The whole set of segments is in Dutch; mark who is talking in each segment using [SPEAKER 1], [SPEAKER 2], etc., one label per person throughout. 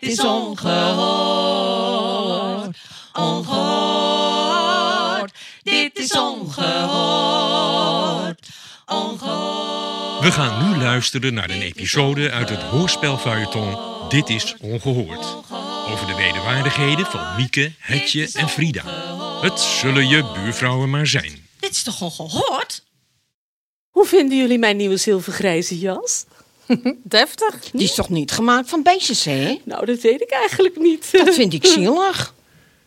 [SPEAKER 1] is ongehoord. Ongehoord. Dit is ongehoord. Ongehoord.
[SPEAKER 2] We gaan nu luisteren naar een episode uit het hoorspelfeuilleton Dit is Ongehoord. Over de wederwaardigheden van Mieke, Hetje en Frida. Het zullen je buurvrouwen maar zijn.
[SPEAKER 1] Dit is toch ongehoord?
[SPEAKER 3] Hoe vinden jullie mijn nieuwe zilvergrijze jas?
[SPEAKER 4] Deftig.
[SPEAKER 5] Die is toch niet gemaakt van beestjes, hè?
[SPEAKER 3] Nou, dat weet ik eigenlijk niet.
[SPEAKER 5] Dat vind ik zielig.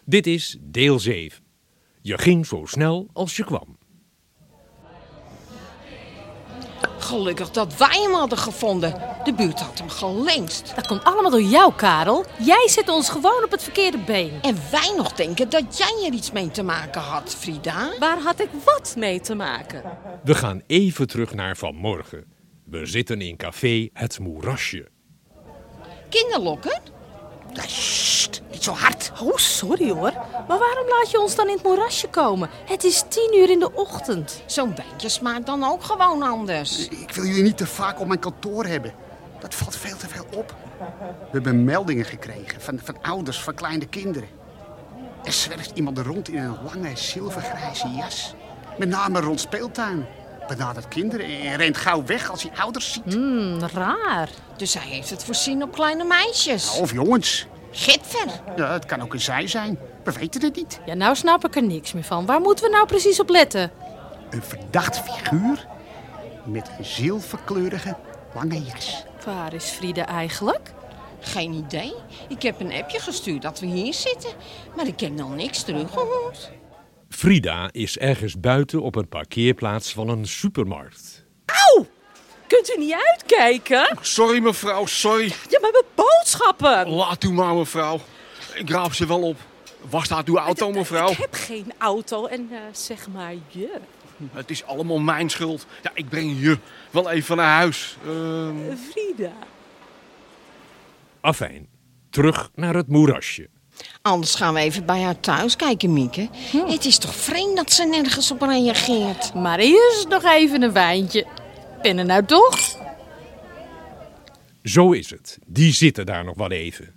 [SPEAKER 6] Dit is deel 7. Je ging zo snel als je kwam.
[SPEAKER 5] Gelukkig dat wij hem hadden gevonden. De buurt had hem gelengst.
[SPEAKER 4] Dat komt allemaal door jou, Karel. Jij zet ons gewoon op het verkeerde been.
[SPEAKER 5] En wij nog denken dat jij er iets mee te maken had, Frida.
[SPEAKER 3] Waar had ik wat mee te maken?
[SPEAKER 6] We gaan even terug naar vanmorgen. We zitten in café Het Moerasje.
[SPEAKER 5] Kinderlokken?
[SPEAKER 4] Nou,
[SPEAKER 5] Nee, sst, niet zo hard.
[SPEAKER 4] Oh, sorry hoor. Maar waarom laat je ons dan in het moerasje komen? Het is tien uur in de ochtend.
[SPEAKER 5] Zo'n wijntje smaakt dan ook gewoon anders.
[SPEAKER 7] Ik wil jullie niet te vaak op mijn kantoor hebben. Dat valt veel te veel op. We hebben meldingen gekregen van, van ouders van kleine kinderen. Er zwerft iemand rond in een lange zilvergrijze jas. Met name rond speeltuin. Benadert kinderen en rent gauw weg als hij ouders ziet.
[SPEAKER 4] Hmm, raar.
[SPEAKER 5] Dus hij heeft het voorzien op kleine meisjes.
[SPEAKER 7] Of jongens.
[SPEAKER 5] Gitver.
[SPEAKER 7] Ja, het kan ook een zij zijn. We weten het niet.
[SPEAKER 4] Ja, nou snap ik er niks meer van. Waar moeten we nou precies op letten?
[SPEAKER 7] Een verdacht figuur met een zilverkleurige lange jas.
[SPEAKER 4] Waar is Frida eigenlijk?
[SPEAKER 5] Geen idee. Ik heb een appje gestuurd dat we hier zitten. Maar ik heb nog niks teruggehoord.
[SPEAKER 6] Frida is ergens buiten op een parkeerplaats van een supermarkt.
[SPEAKER 3] Kunt u niet uitkijken?
[SPEAKER 8] Sorry mevrouw, sorry.
[SPEAKER 3] Ja, maar mijn boodschappen!
[SPEAKER 8] Laat u maar mevrouw. Ik raap ze wel op. Waar staat uw auto Oh, mevrouw?
[SPEAKER 3] Ik heb geen auto en eh, zeg maar je.
[SPEAKER 8] Het is allemaal mijn schuld. Ja, ik breng je wel even naar huis. Ehm,
[SPEAKER 3] Frida.
[SPEAKER 6] Afijn, terug naar het moerasje.
[SPEAKER 5] Anders gaan we even bij haar thuis kijken, Mieke. Het is toch vreemd dat ze nergens op reageert.
[SPEAKER 4] Maar eerst nog even een wijntje. Ben er nou toch?
[SPEAKER 6] Zo is het. Die zitten daar nog wel even.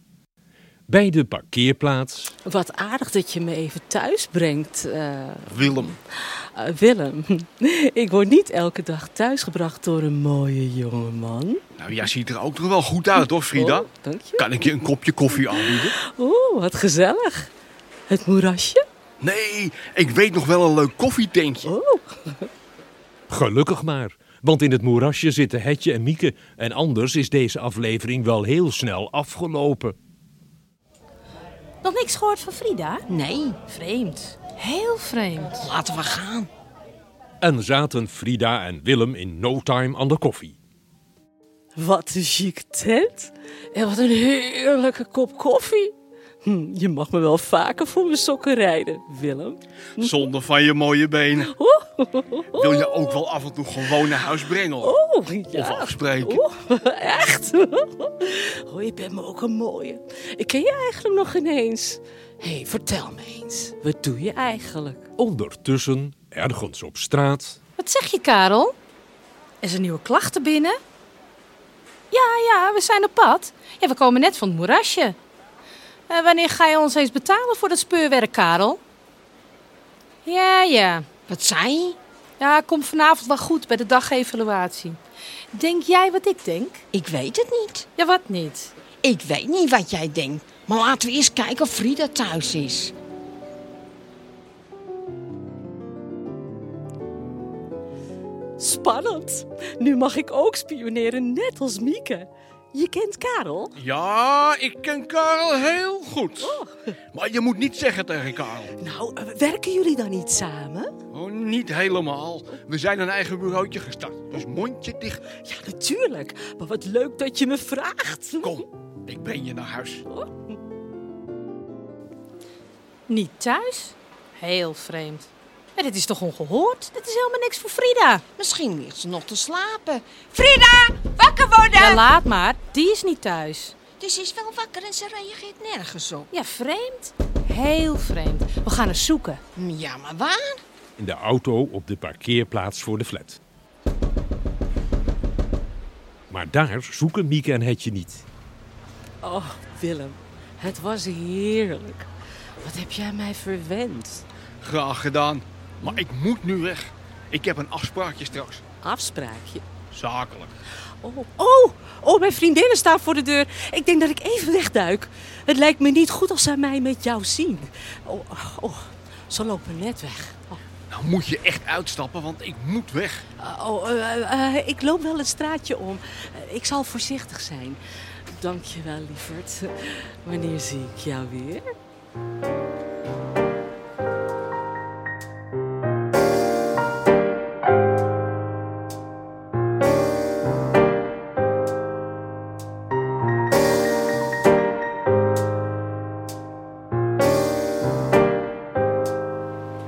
[SPEAKER 6] Bij de parkeerplaats.
[SPEAKER 3] Wat aardig dat je me even thuis brengt, eh, eh,
[SPEAKER 8] Willem.
[SPEAKER 3] Willem. Ik word niet elke dag thuisgebracht door een mooie jongeman.
[SPEAKER 8] Nou, jij ziet er ook nog wel goed uit hoor, Frida.
[SPEAKER 3] Oh, dank je.
[SPEAKER 8] Kan ik je een kopje koffie aanbieden?
[SPEAKER 3] Oeh, wat gezellig. Het moerasje?
[SPEAKER 8] Nee, ik weet nog wel een leuk koffietentje.
[SPEAKER 3] Oh,
[SPEAKER 6] Gelukkig maar, want in het moerasje zitten Hetje en Mieke. En anders is deze aflevering wel heel snel afgelopen.
[SPEAKER 4] Nog niks gehoord van Frida?
[SPEAKER 5] Nee,
[SPEAKER 4] Vreemd. Heel vreemd.
[SPEAKER 5] laten we gaan.
[SPEAKER 6] En zaten Frida en Willem in no time aan de koffie.
[SPEAKER 3] wat een chique tent. En wat een heerlijke kop koffie. Hm, je mag me wel vaker voor mijn sokken rijden, Willem.
[SPEAKER 8] Zonder van je mooie benen. Wil je ook wel af en toe gewoon naar huis brengen? hoor?
[SPEAKER 3] Oh, ja.
[SPEAKER 8] Of afspreken?
[SPEAKER 3] Oeh, echt? Oh, je bent me ook een mooie. Ik ken je eigenlijk nog ineens. Hé, hey, vertel me eens. Wat doe je eigenlijk?
[SPEAKER 6] Ondertussen, ergens op straat.
[SPEAKER 4] Wat zeg je, Karel? Is er nieuwe klachten binnen? Ja, ja, we zijn op pad. Ja, we komen net van het moerasje. Eh, wanneer ga je ons eens betalen voor dat speurwerk, Karel? Ja, ja.
[SPEAKER 5] Wat zei je?
[SPEAKER 4] Ja, komt vanavond wel goed bij de dagevaluatie. Denk jij wat ik denk?
[SPEAKER 5] Ik weet het niet.
[SPEAKER 4] Ja, wat niet?
[SPEAKER 5] Ik weet niet wat jij denkt. Maar laten we eerst kijken of Frida thuis is.
[SPEAKER 3] Spannend. Nu mag ik ook spioneren, net als Mieke. Je kent Karel?
[SPEAKER 8] Ja, ik ken Karel heel
[SPEAKER 3] Oh.
[SPEAKER 8] goed. Maar je moet niet zeggen tegen Karel.
[SPEAKER 3] Nou, eh, werken jullie dan niet samen?
[SPEAKER 8] Oh, niet helemaal. We zijn een eigen bureautje gestart. Dus mondje dicht.
[SPEAKER 3] Ja, natuurlijk. Maar wat leuk dat je me vraagt.
[SPEAKER 8] Kom, ik breng je naar huis.
[SPEAKER 4] Niet thuis? Heel vreemd. Ja, dit is toch ongehoord? Dit is helemaal niks voor Frida.
[SPEAKER 5] Misschien ligt ze nog te slapen.
[SPEAKER 1] Frida, wakker worden!
[SPEAKER 4] Ja, laat maar. Die is niet thuis.
[SPEAKER 5] Dus ze is wel wakker en ze reageert nergens op.
[SPEAKER 4] Ja, vreemd. Heel vreemd. We gaan eens zoeken.
[SPEAKER 5] Hm, Ja, maar waar?
[SPEAKER 6] In de auto op de parkeerplaats voor de flat. Maar daar zoeken Mieke en Hetje niet.
[SPEAKER 3] Oh, Willem, het was heerlijk. Wat heb jij mij verwend?
[SPEAKER 8] Graag gedaan. Maar ik moet nu weg. Ik heb een afspraakje straks.
[SPEAKER 3] Afspraakje.
[SPEAKER 8] Zakelijk.
[SPEAKER 3] Oh, oh, oh, mijn vriendinnen staan voor de deur. Ik denk dat ik even wegduik. Het lijkt me niet goed als zij mij met jou zien. Oh, oh ze lopen net weg. Oh,
[SPEAKER 8] Nou moet je echt uitstappen, want ik moet weg.
[SPEAKER 3] Oh, eh, eh, eh, ik loop wel het straatje om. Eh, ik zal voorzichtig zijn. Dank je wel, lieverd. Wanneer zie ik jou weer?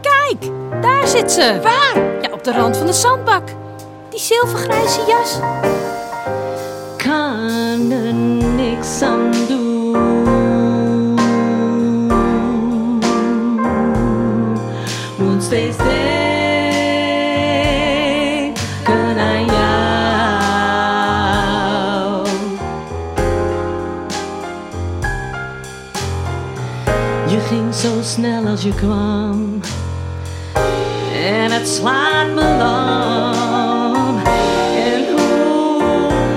[SPEAKER 4] Kijk, daar zit ze. Waar? Ja, op de rand van de zandbak. Die zilvergrijze jas.
[SPEAKER 9] kan er niks aan doen. Want steeds denken aan jou. Je ging zo snel als je kwam. En het slaat me lam. En hoe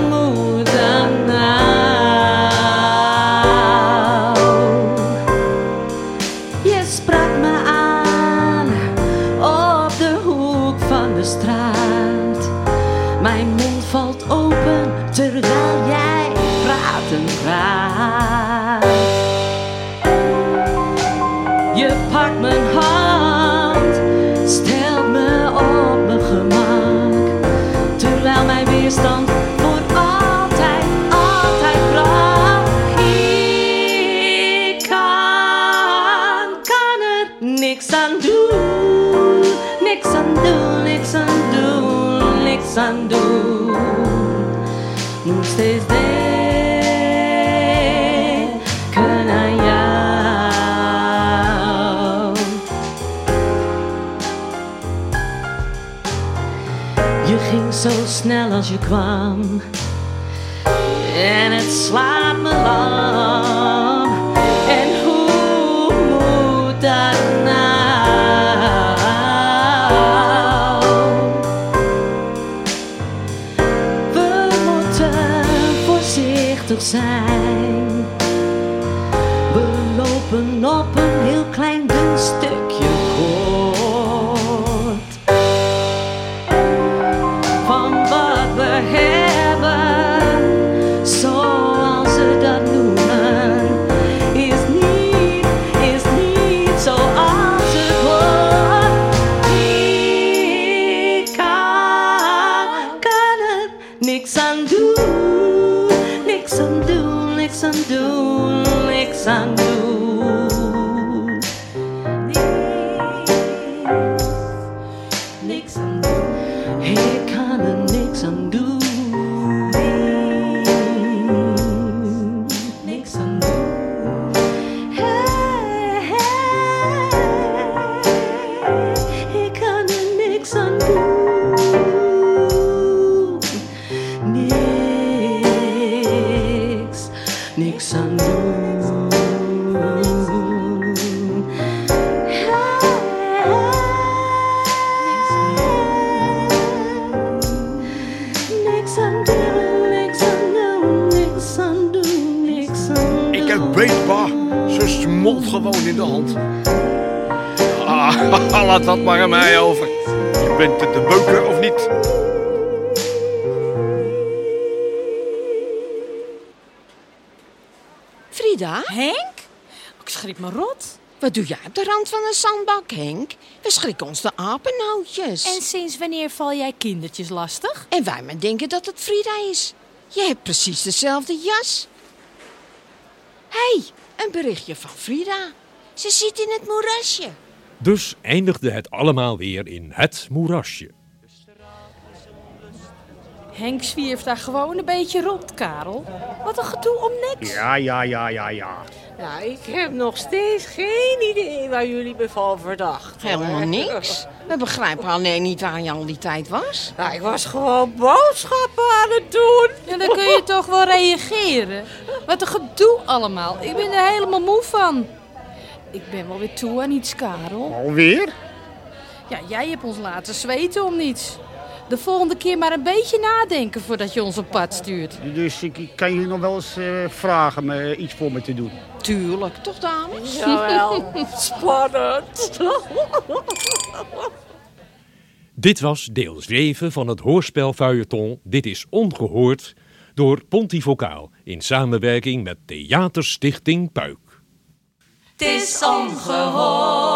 [SPEAKER 9] moet dat nou? Je sprak me aan op de hoek van de straat. Mijn mond valt open terwijl jij praat en praat. Je pakt mijn hand, stelt me op mijn gemak. Terwijl mijn weerstand voor altijd, altijd brak. Ik kan, kan er niks aan doen. Niks aan doen, niks aan doen, niks aan doen. Nog steeds denken aan jou. Je ging zo snel als je kwam En het slaat me lam En hoe moet dat nou? We moeten voorzichtig zijn We lopen op een heel klein dun stukje koord van wat we hebben, zoals ze dat noemen, is niet, is niet zoals het hoort. Ik kan, kan er niks aan doen, niks aan doen, niks aan doen, niks aan doen. Niks, niks aan doen. Ik kan er niks aan doen. Niks aan doen. Hey, hey, ik kan er niks aan doen. Niks, niks aan doen. Niks aan doen, niks aan doen, niks aan doen, niks aan doen.
[SPEAKER 8] Ik heb beetbaar. Ze smolt gewoon in de hand. Ah, laat dat maar aan mij over. Je bent het de beuker of niet?
[SPEAKER 5] Frida,
[SPEAKER 4] Henk? Oh, Ik schrik me rot.
[SPEAKER 5] wat doe jij op de rand van een zandbak, Henk? We schrikken ons de apenhoutjes.
[SPEAKER 4] En sinds wanneer val jij kindertjes lastig?
[SPEAKER 5] En wij maar denken dat het Frida is. Je hebt precies dezelfde jas. Hé, hey, een berichtje van Frida. Ze zit in het moerasje.
[SPEAKER 6] Dus eindigde het allemaal weer in het moerasje.
[SPEAKER 4] Henk zwierft daar gewoon een beetje rond, Karel. Wat een gedoe om niks.
[SPEAKER 7] Ja, ja, ja, ja, ja.
[SPEAKER 3] Nou, ik heb nog steeds geen idee waar jullie me van verdacht.
[SPEAKER 5] Helemaal niks. We begrijpen alleen niet waar je al die tijd was.
[SPEAKER 10] Nou, ik was gewoon boodschappen aan het doen.
[SPEAKER 4] Ja, dan kun je toch wel reageren. Wat een gedoe allemaal. Ik ben er helemaal moe van. Ik ben wel weer toe aan iets, Karel.
[SPEAKER 7] Alweer?
[SPEAKER 4] Ja, jij hebt ons laten zweten om niets. De volgende keer maar een beetje nadenken voordat je ons op pad stuurt.
[SPEAKER 7] Dus ik, ik kan jullie nog wel eens eh, vragen om eh, iets voor me te doen.
[SPEAKER 5] Tuurlijk, toch dames?
[SPEAKER 10] Jawel, spannend.
[SPEAKER 6] Dit was deel 7 van het hoorspel Feuilleton Dit is Ongehoord door Pontivocaal in samenwerking met Theaterstichting Puik.
[SPEAKER 10] Het is ongehoord.